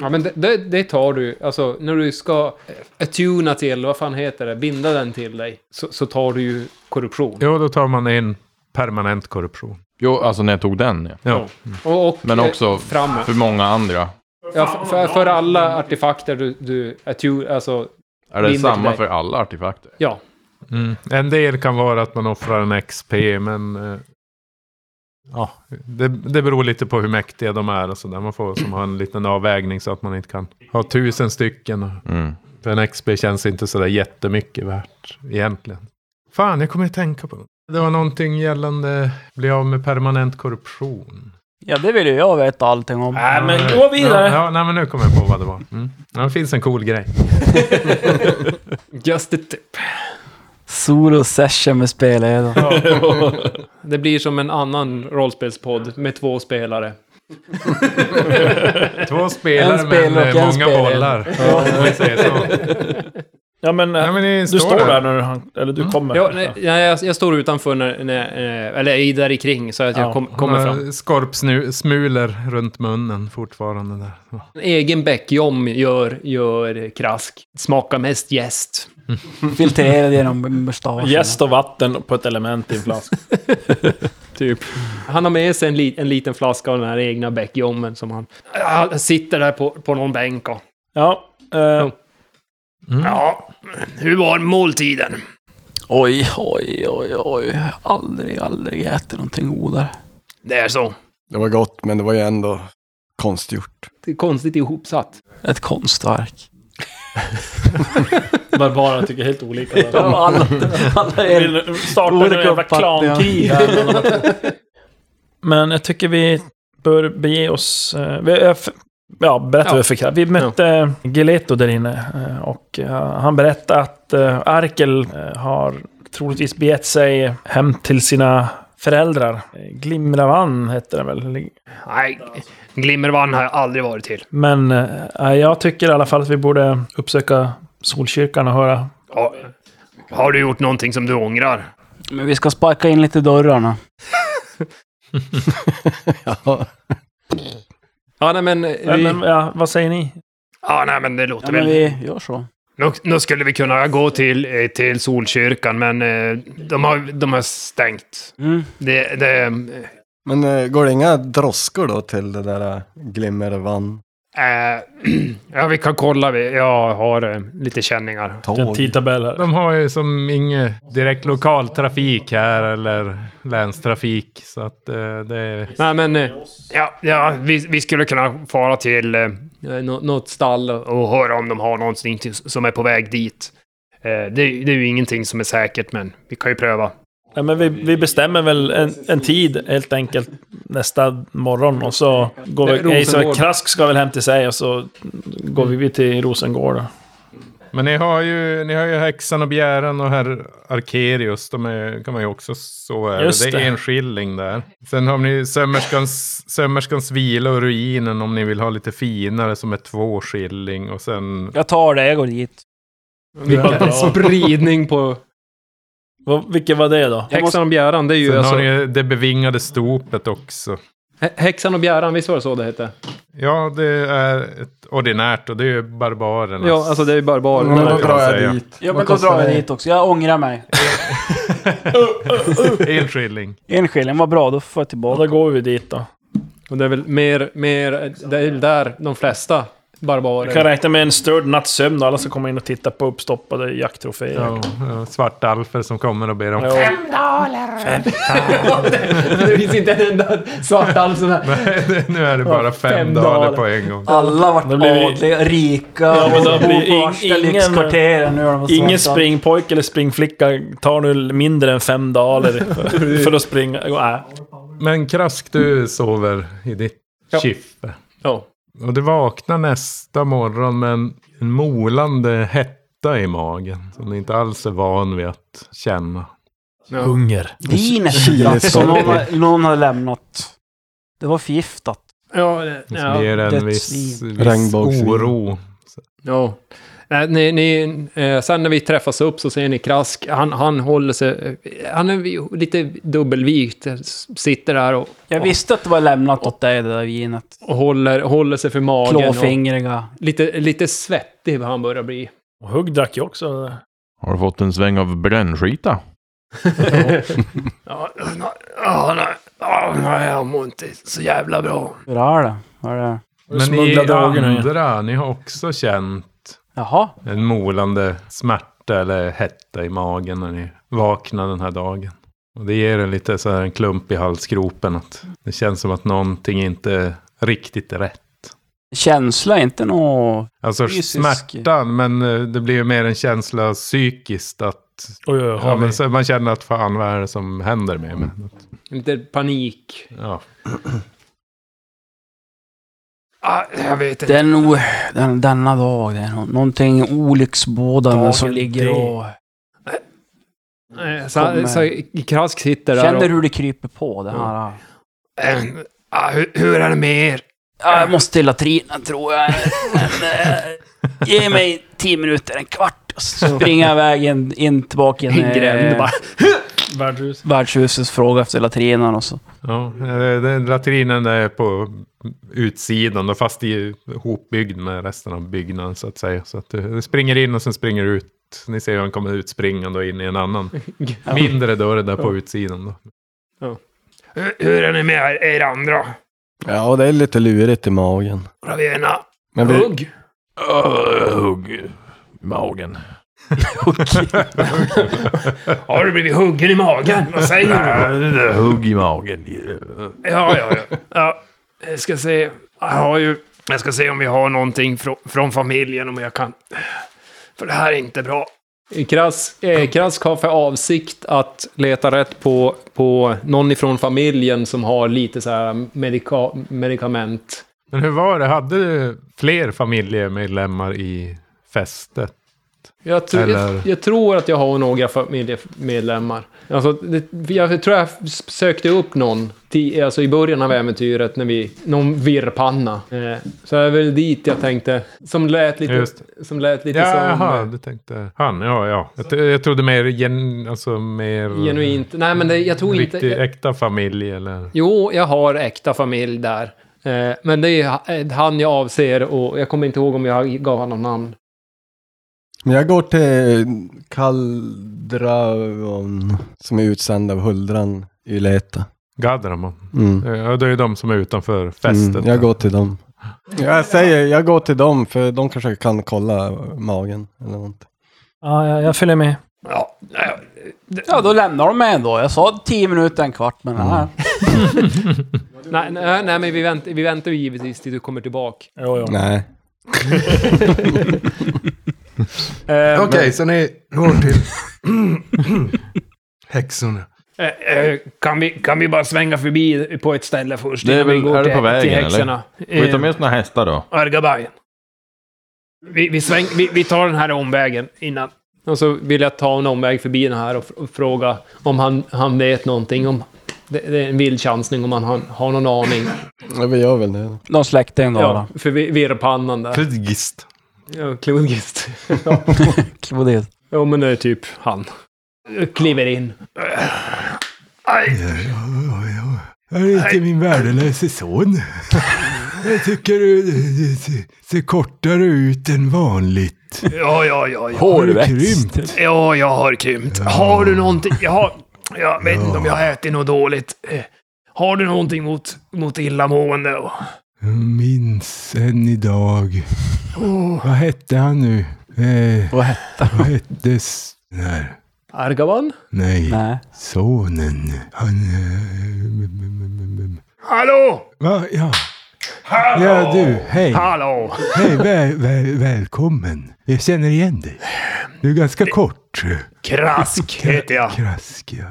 Ja, men det, det, det tar du. Alltså, när du ska attuna till, vad fan heter det, binda den till dig, så, så tar du ju korruption.
Jo, då tar man in permanent korruption.
Jo, alltså när jag tog den. Ja.
Ja.
Och, och,
Men
eh,
också
framåt.
för många andra.
Ja, för- för, för alla artefakter du... du attu, alltså,
Är det
vinner till
samma
dig.
för alla artefakter?
Ja.
Mm. En del kan vara att man offrar en XP, men... eh, Ja, det, det beror lite på hur mäktiga de är och sådär. Man får som ha en liten avvägning så att man inte kan ha tusen stycken.
Mm.
För en XP känns inte sådär jättemycket värt egentligen. Fan, jag kommer att tänka på det. Det var någonting gällande bli av med permanent korruption.
Ja, det vill ju jag veta allting om.
Äh,
Nej, Äh, men gå vidare.
Ja, ja, nej, men nu kommer jag på vad det var. Mm. Ja, det finns en cool grej.
Just a tip.
Solo session med spelledaren.
Det blir som en annan rollspelspodd med två spelare.
Två spelare,
En spel
men
och
eh,
en
många
spelare.
bollar.
Ja.
Om vi säger så.
Ja, men, eh,
Ja, men ni
du
står
står,
där.
där. Mm. när du, han- eller du kommer.
Ja, nej, nej, jag, jag står utanför, när, när, eh, eller i- där i kring så att jag
Ja.
kom, kommer fram.
Skorpsmulor runt munnen fortfarande där. Så.
En egen bäckjom gör, gör krask. Smakar mest jäst.
Filtrerad genom mustaschen.
Jäst och vatten på ett element i en flaska.
typ. Han har med sig en, li, en liten flaska av den här egna bäckjommen som han... Han sitter där på, på någon bänk och...
Ja. eh,
Mm.
Ja, hur var måltiden?
Oj, oj, oj, oj. Aldrig, aldrig ätit någonting godare.
Det är så.
Det var gott, men det var ju ändå konstgjort.
Det är konstigt ihopsatt.
Ett konstverk.
Barbarerna tycker helt olika. där.
Ja, alla- alla är-
Vill starta en
olika
jävla
uppfattningar.
klankrig här. Men jag tycker vi bör bege oss... eh, vi- jag f- Ja, berätta vad vi fick här. Vi mötte Geleto där inne eh, och eh, han berättade att eh, Arkel eh, har troligtvis begett sig hem till sina föräldrar. Eh, Glimravann hette den väl?
Nej, Glimmervann har jag aldrig varit till.
Men eh, jag tycker i alla fall att vi borde uppsöka Solkyrkan och höra.
Ja. Har du gjort någonting som du ångrar?
Men vi ska sparka in lite i dörrarna.
ja.
Ja, nej men... eh,
Ja,
Vi,
Eh, men, ja, vad säger ni?
Ja, nej, men det låter
Ja,
väl...
men vi gör så.
Nu, nu skulle vi kunna gå till, eh, till Solkyrkan, men eh, de har, de har stängt.
Mm.
Det, det,
Men eh, går det inga droskor då till det där eh, glimmervann?
eh, ja, vi kan kolla. Vi- Jag har eh, lite känningar.
Tåg.
tidtabell här.
De har ju som ingen direkt lokaltrafik här eller länstrafik. Så att eh, det är...
nej men... eh,
Ja, ja vi, vi skulle kunna fara till eh,
eh, nå- Något stall och...
och höra om de har någonting till, som är på väg dit. Eh, det, det är ju ingenting som är säkert, men vi kan ju pröva.
Ja, men vi, vi bestämmer väl en, en tid helt enkelt nästa morgon och så går vi...
Rosengård.
Nej, så Krask ska väl hem till sig och så går vi till Rosengård. då.
Men ni har, ju, ni har ju häxan och bjären och herr Arkerius. De är, kan man ju också så över.
Just
Det.
det.
är en skilling där. Sen har ni sömmerskans, sömmerskans vila och ruinen om ni vill ha lite finare som är två skilling. Och sen...
Jag tar det, jag går dit.
Vilken spridning på...
Vad- Vilket var det då?
Häxan och bjäran, det är ju
Sen
alltså...
har ni ju det bevingade stopet också.
Hä- Häxan och bjäran, visst var det så det hette?
Ja, det är ett ordinärt och det är ju barbarerna.
Ja, alltså det är ju barbarer.
Men då
kan
drar
man
jag
säga.
dit.
Ja,
Vad
men då
kostar
drar jag
det?
dit också. Jag ångrar mig.
En skilling.
En skilling, vad bra. Då får jag
Ja,
tillbaka.
då går vi dit då.
Och det är väl mer, mer, det är väl där de flesta
Vi kan
barbarer...
räkna med en störd nattsömn då alla ska komma in och titta på uppstoppade jakttroféer.
Ja, ja, svarta alfer som kommer och ber om...
Ja.
det finns inte en enda svart alls här.
Nej, det- nu är det bara fem,
fem
daler.
daler.
på en gång.
Alla vart
Då blir vi-
adliga, rika,
Ja, men då
och
blir ing-
bor på
ingen-
lyxkvarteren. Nu är de
Ingen
svarta.
springpojke eller springflicka tar nu mindre än fem daler för- för att springa. Äh. Nej.
Men Krask, du sover i ditt skiffe.
Ja.
Och du vaknar nästa morgon med en, en molande hetta i magen. Som du inte alls är van vid att känna.
Hunger.
Vinet
Chilisoppa.
som någon, har- någon har lämnat. Det var förgiftat.
Ja, det-
Det som ger
ja.
en viss,
dödsvin.
viss
Regnbågsvin.
oro.
ja. Nej, Ni, ni, eh, sen när vi träffas upp så ser ni Krask, han, han håller sig... eh, Han är vi- lite dubbelvikt, eh, s- sitter där och,
Jag visste att det var lämnat åt dig, det där vinet.
och håller, håller sig för magen. Och
Klåfingriga.
lite, lite svettig vad han börjar bli.
Och Hugg drack ju också.
Har du fått en sväng av brännskita?
Ja, ja, ja, ja, jag mår inte så jävla bra.
Hur är det? Vad är det?
Men ni andra, ni har också känt
Jaha.
en molande smärta eller hetta i magen när ni vaknar den här dagen. Och det ger en lite så här en klump i halsgropen. Att det känns som att någonting inte är riktigt är rätt.
Känsla, inte något...
Alltså
Fysisk-
smärtan, men eh, det blir ju mer en känsla psykiskt att... ja, men så man känner att fan vad är det som händer med mig?
Lite panik.
Ja.
Ah, jag vet
Det
inte.
är nog den, denna dag, det är nå- någonting olycksbådande som
Dagen
ligger och...
Eh, Så,
Kommer.
så Krask sitter där
Känner
och...
hur det kryper på det här? ah.
En- ah, hur, hur är det med er?
Ja, jag måste till latrinen tror jag. Men, eh, ge mig tio minuter, en kvart, och så springer jag iväg in, in tillbaka in
En gränd bara.
Värdshus.
värdshuset frågar efter latrinen och så.
Ja, eh, den latrinen är på utsidan, då, fast i hopbyggd med resten av byggnaden så att säga. Så att du springer in och sen springer du ut. Ni ser hur han kommer ut springande och in i en annan mindre dörr där på utsidan. Då.
Hur, hur är det med er, er andra?
Ja, det är lite lurigt i magen.
Ravena?
Men vi,
Hugg?
Öh, Hugg i magen.
Har du blivit huggen i magen? Vad säger du?
Äh, det där Hugg i magen.
Ja, ja, ja. ja jag ska se. Jag har ju... Jag ska se om vi har någonting från, från familjen om jag kan... För det här är inte bra.
Krask, eh, Krask har för avsikt att leta rätt på, på någon ifrån familjen som har lite så här medika, medikament.
Men hur var det, hade du fler familjemedlemmar i fästet?
Jag, tr-
Eller-
jag, jag tror att jag har några familjemedlemmar. Alltså, det, jag tror jag s- sökte upp någon ti, alltså i början av äventyret, när vi, någon virrpanna. Eh, så det är väl dit jag tänkte, som lät lite,
Just
som lät lite
Ja,
som...
jaha, du tänkte han, ja, ja. Jag, t- jag trodde mer, gen, alltså mer...
Genuint. Nej, men det, jag tror inte...
Riktig,
Jag,
äkta familj eller?
jo, jag har äkta familj där. Eh, men det är ha- eh, han jag avser och jag kommer inte ihåg om jag gav honom namn.
men jag går till Kaldraon som är utsänd av Huldran i Leta.
Gadramon.
Mm.
Ja, det är ju de som är utanför fästet.
Mm, jag går till dem. Jag säger, jag går till dem för de kanske kan kolla magen eller någonting.
Ja, jag, jag följer med.
Ja, ja, det-
Ja, då lämnar de mig ändå. Jag sa tio minuter, en kvart, men nej.
Nej, nej, nej men vi vänt- vi väntar ju givetvis tills du kommer tillbaka.
Jo, jo.
Nej.
Eh,
så ni går till häxorna.
Eh, eh, Kan vi, kan vi bara svänga förbi på ett ställe först?
Det är
innan vi
väl-
går
är det
till-
på vägen,
till
eller?
häxorna?
Får vi ta
Eh,
med såna hästar då?
Argabajen. Vi, vi, sväng, vi, vi tar den här omvägen innan.
Och så vill jag ta en omväg förbi den här och, fr- och fråga om han, han vet någonting. Om, det, det är en vild chansning om han har, har någon aning.
Ja, vi gör väl det.
Någon släkting då?
Ja,
Ja.
för vi- virrpannan där.
Prigist.
Ja, Klodgist.
Klodel.
Ja, men det är typ han. Kliver in.
Aj,
Är det inte min värdelöse son? Jag tycker du, du, du ser- ser kortare ut än vanligt.
ja, ja, ja, ja.
Har du krympt?
Ja, jag har krympt. Har du någonting? Jag, har, jag vet inte om jag har ätit något dåligt. Eh, Har du någonting mot, mot illamående? och-
Jag minns än idag.
Åh,
Vad hette han nu? Eh,
Vad hette
vad hette... s- Nej.
Argavan?
Nej.
Nej.
Sonen. Han... eh, mm, mm, mm, mm.
Hallå!
Va? Ja.
Hallå!
Ja, du. Hej.
Hallå!
Hej, väl, väl, välkommen. Jag känner igen dig. Du är ganska kort.
Krask heter jag.
Krask, ja.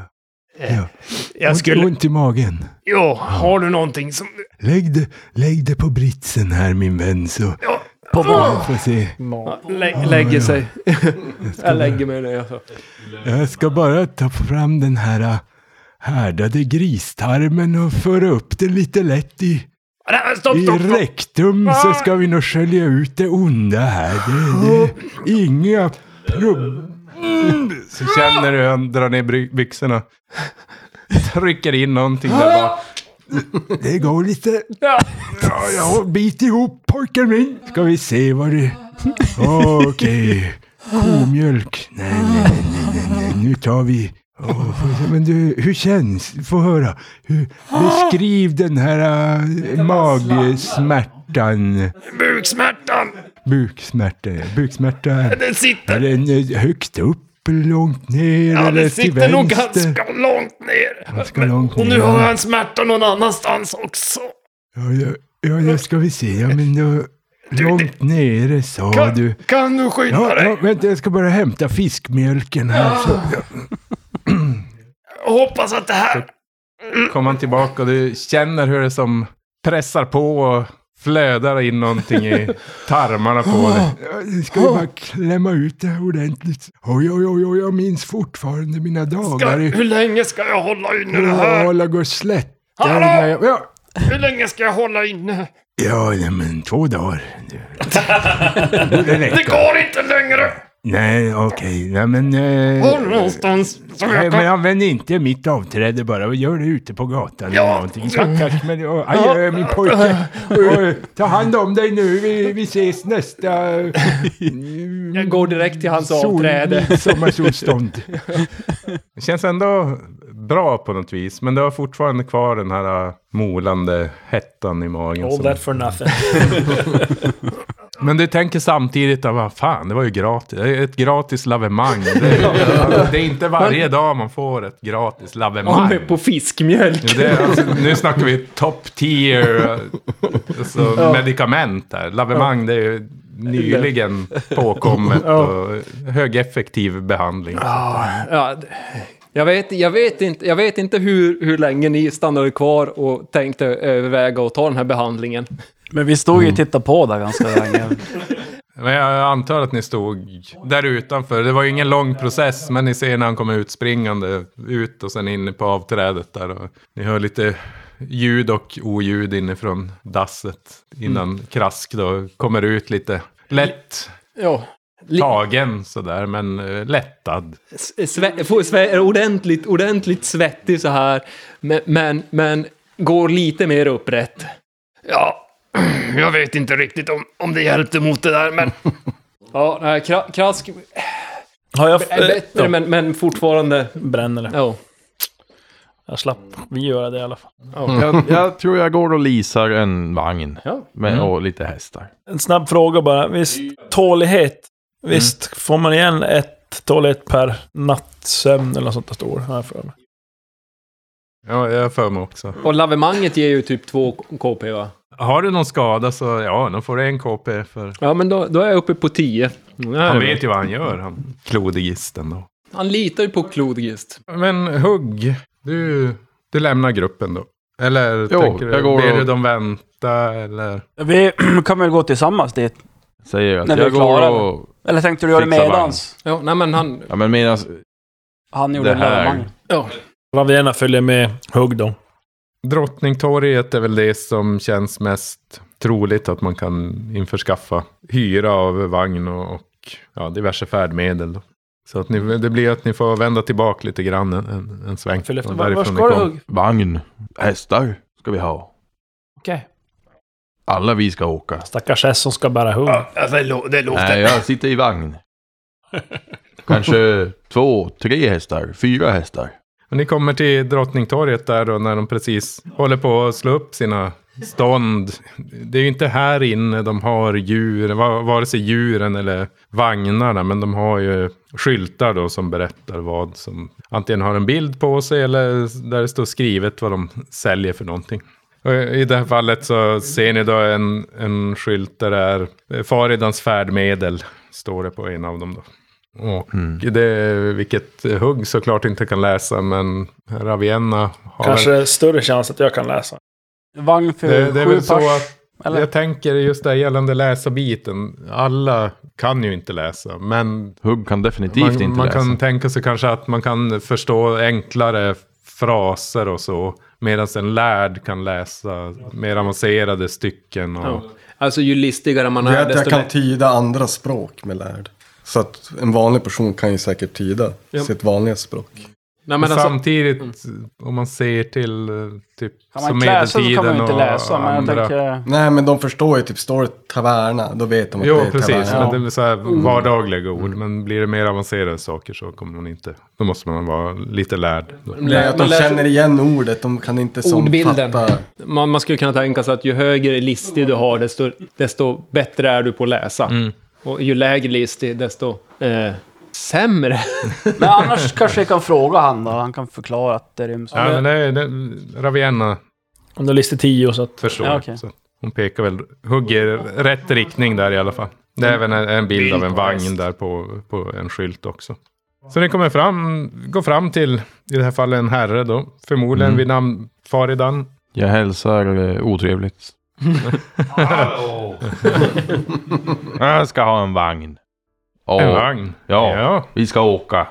Jag
Ont-
skulle...
Ont i magen.
Jo, har du någonting som...
Lägg det, lägg det på britsen här min vän så
Ja,
på jag får se.
Lä- lägger sig. Jag lägger mig ner. Alltså.
Jag ska bara ta fram den här äh, härdade gristarmen och föra upp den lite lätt i,
Nej, stopp,
i
stopp, Ah. stopp!
rektum så ska vi nog skölja ut det onda här.
Ah.
Det, det, inga prob...
Så känner du hur han drar ner bry- byxorna. Trycker in någonting där bak.
Det går lite... Ja, ja, bit ihop pojken min. Ska vi se vad det... Okej. Komjölk. Nej, nej, nej, nej, nej, nej. Nu tar vi... Åh, får- men du, hur känns? Få höra. Hur, beskriv den här äh, magsmärtan.
buksmärtan.
Buksmärtan!
Buksmärta, ja. Buksmärta.
Den sitter.
Är den eh, högt upp, långt ner
Ja,
eller
den
till
sitter
vänster?
nog ganska långt ner.
Ganska långt
Och
ner.
nu har han smärta någon annanstans också.
Ja, ja, ja, det ska vi se. Ja, men då, långt nere sa
Kan-
du.
Kan du skynda
Ja,
dig? Ah.
ja, vänta, jag ska bara hämta fiskmjölken här. Så, ja.
Jag hoppas att det här...
Kommer han tillbaka och du känner hur det som pressar på och flödar in någonting i tarmarna på dig.
Ah, Ja, Nu ska vi bara klämma ut det här ordentligt. Oj, oj, oj, oj, jag minns fortfarande mina
Ska,
dagar. i-
hur länge ska jag hålla inne det här?
Ålag och slätter.
Hallå!
Ja,
Hur länge ska jag hålla inne?
ja, nej, men två dagar. Det räcker.
Det går inte längre!
Nej, okej. Nej, men... eh,
Var någonstans som
Nej,
jag
men
kan...
använd inte mitt avträde bara. Gör det ute på gatan
Ja.
eller någonting. Stackars men... åh, Aj, aj, min pojke. Åh, ta hand om dig nu. Vi, vi ses nästa...
Jag går direkt till hans
Sol-
avträde.
Sommarsolstånd.
Det känns ändå bra på något vis, men du har fortfarande kvar den här äh, molande hettan i magen.
All
som-
that for nothing.
Men du tänker samtidigt att vad fan, det var ju gratis. Det är ett gratis lavemang. Det är, det är inte varje dag man får ett gratis
Om
lavemang.
är på fiskmjölk.
Det är, alltså, nu snackar vi top tier alltså,
Ja.
medicament här. Lavemang, det är ju nyligen påkommet
Ja.
och högeffektiv behandling.
Ja, ja, d- jag, vet, jag, vet inte, jag vet inte hur, hur länge ni stannade kvar och tänkte överväga att ta den här behandlingen.
Men vi stod ju och tittade på där ganska länge.
Men jag antar att ni stod där utanför. Det var ju ingen lång process, men ni ser när han kommer ut springande ut och sen in på avträdet där. Och ni hör lite ljud och oljud inifrån dasset innan
Mm.
Krask då kommer ut lite lätt
Ja.
tagen sådär, men eh, lättad.
sve, får sve, ordentligt, ordentligt svettig så här. Men, men, men går lite mer upprätt.
Ja, jag vet inte riktigt om, om det hjälpte mot det där, men...
Ja, nej, Kra- krask
Har jag...
är bättre, men, men fortfarande...
Bränner det.
Ja.
Jag slapp vi göra det i alla fall.
Jag, jag tror jag går och lisar en vagn.
Ja.
Med,
Mm.
Och lite hästar.
En snabb fråga bara. Visst, tålighet. Visst, får man igen ett tålighet per nattsömn eller något sånt där står det, har jag för mig.
Ja, jag har för mig också.
Och lavemanget ger ju typ två KP va?
Har du någon skada så ja, då får du en KP för...
Ja, men då, då är jag uppe på 10.
Han
Mm, det är
vet ju
bra.
vad han gör, han klodigisten då.
Han litar ju på Klodgist.
Men hugg, du, du lämnar gruppen då? Eller
Jo,
tänker du,
jag går
ber
och-
du dem vänta eller?
Vi kan väl gå tillsammans dit?
Säger att
När vi är
jag går
klara.
och...
Eller tänkte du göra det
Fixa
medans?
Ja, nej men han...
Ja men medan...
Han gjorde
Det
en
här-
lavemang.
Ja.
Ravierna följer med hugg då.
Drottningtorget är väl det som känns mest troligt att man kan införskaffa hyra av vagn och, och ja, diverse färdmedel. Då. Så att ni, det blir att ni får vända tillbaka lite grann en, en, en sväng.
Följ efter
Och
var-
därifrån
var
ni
ska du,
kom.
Hugg?
Vagn. Hästar ska vi ha.
Okej.
Alla vi ska åka.
Stackars S som ska bära hugg.
Ja, det, lå- det låter...
Nej, jag sitter i vagn. Kanske två, tre hästar, fyra hästar.
Och ni kommer till Drottningtorget där då när de precis håller på att slå upp sina stånd. Det är ju inte här inne de har djur, va- vare sig djuren eller vagnarna, men de har ju skyltar då som berättar vad som antingen har en bild på sig eller där det står skrivet vad de säljer för någonting. Och I det här fallet så ser ni då en, en skylt där det är eh, Faridans färdmedel, står det på en av dem då. Och det, vilket hugg såklart inte kan läsa, men Ravienna har...
Kanske större chans att jag kan läsa.
Vagn för
det, det är
Typ sju
väl så
pers.
att
eller?
jag tänker just det här gällande läsarbiten. Alla kan ju inte läsa, men
Hugg kan definitivt
man,
inte
man
läsa.
kan tänka sig kanske att man kan förstå enklare fraser och så. Medan en lärd kan läsa mer avancerade stycken. Och,
Ja. Alltså ju listigare man är,
Jag, jag
desto
kan
lätt-
tyda andra språk med lärd. Så att en vanlig person kan ju säkert tyda
Ja.
sitt vanliga språk.
Nej, men
men alltså-
samtidigt, om man ser till eh, typ
Kan Mm. man klä sig så kan man ju inte läsa, men jag tänker...
Nej, men de förstår ju typ, står det taverna, då vet de att det
Jo,
är
precis.
taverna.
Men det blir så här
Mm.
vardagliga ord. Men blir det mer avancerade saker så kommer man inte... Då måste man vara lite lärd.
Nej, att de känner igen ordet, de kan inte som
Ordbilden.
fatta.
Man, man skulle kunna tänka sig att ju högre listig du har, desto, desto bättre är du på att läsa. Och ju lägre listig, desto eh, sämre.
Men annars kanske jag kan fråga han då. Han kan förklara att det ryms...
Ja, men det är det, Ravienna.
Hon har listat tio så att...
Förstår.
Ja, okej.
så hon pekar väl, hugger rätt riktning där i alla fall. Det är även en, en bild av en
Bild på häst.
vagn där på, på en skylt också. Så ni kommer fram, går fram till, i det här fallet en herre då, förmodligen
Mm.
vid namn Faridan.
Jag hälsar eh, otrevligt. jag ska ha en vagn.
En
Ja.
vagn?
Ja,
Ja.
vi ska åka.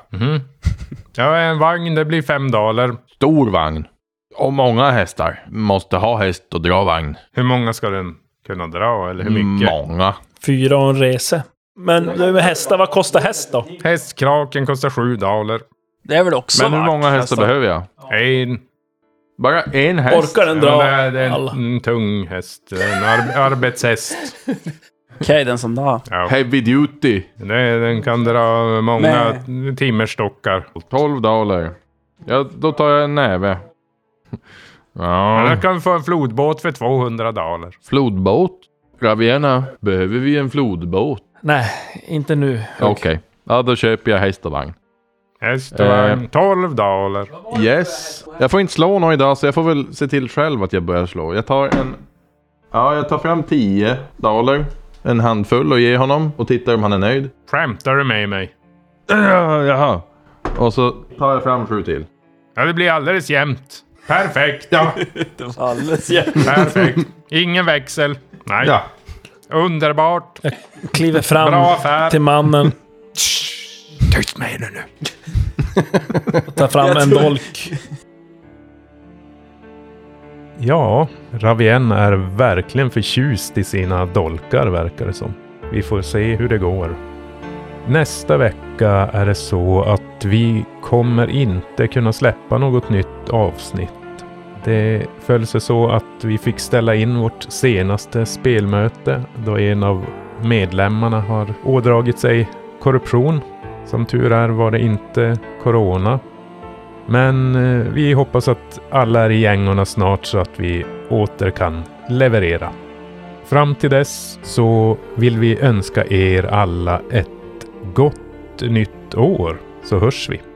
Ja, en vagn, det blir fem daler.
Stor vagn. Och många hästar. Måste ha häst och dra vagn.
Hur många ska den kunna dra eller hur mycket?
Många.
Fyra och en rese. Men det med hästar, vad kostar häst då?
Hästkraken kostar sju daler.
Det är väl också
Men hur många hästar
alltså.
behöver jag?
En.
Bara en häst?
Orkar den dra
Ja, men det är- det är en,
alla?
en tung häst. Det är En ar arbetshäst.
Okej, den som drar.
Ja.
Heavy duty.
Den,
Mm.
den kan dra många timmerstockar.
12 daler. Ja, då tar jag en näve.
Men
Ja.
jag kan få en flodbåt för 200 daler.
Flodbåt? Ravienna, behöver vi en flodbåt?
Nej, inte nu.
Okej. Ja, då köper jag häst och vagn.
Häst och
Eh.
vagn. 12 daler.
Yes. Jag får inte slå någon idag så jag får väl se till själv att jag börjar slå. Jag tar en... Ja, jag tar fram 10 daler. En handfull och ger honom och tittar om han är nöjd.
Skämtar du med mig?
Ja, Jaha. Och så tar jag fram sju till.
Ja, det blir alldeles jämnt. Perfekt. Ja.
Alldeles jämnt.
Perfekt. Ingen växel. Nej.
Ja.
Underbart.
Kliver fram
Bra affär.
till mannen,
Tyst med er nu.
tar fram en dolk.
Ja, Ravien är verkligen förtjust i sina dolkar verkar det som. Vi får se hur det går. Nästa vecka är det så att vi kommer inte kunna släppa något nytt avsnitt. Det föll sig så att vi fick ställa in vårt senaste spelmöte då en av medlemmarna har ådragit sig korruption. Som tur är var det inte corona men eh, vi hoppas att alla är i gängorna snart så att vi åter kan leverera. Fram till dess så vill vi önska er alla ett gott nytt år, så hörs vi.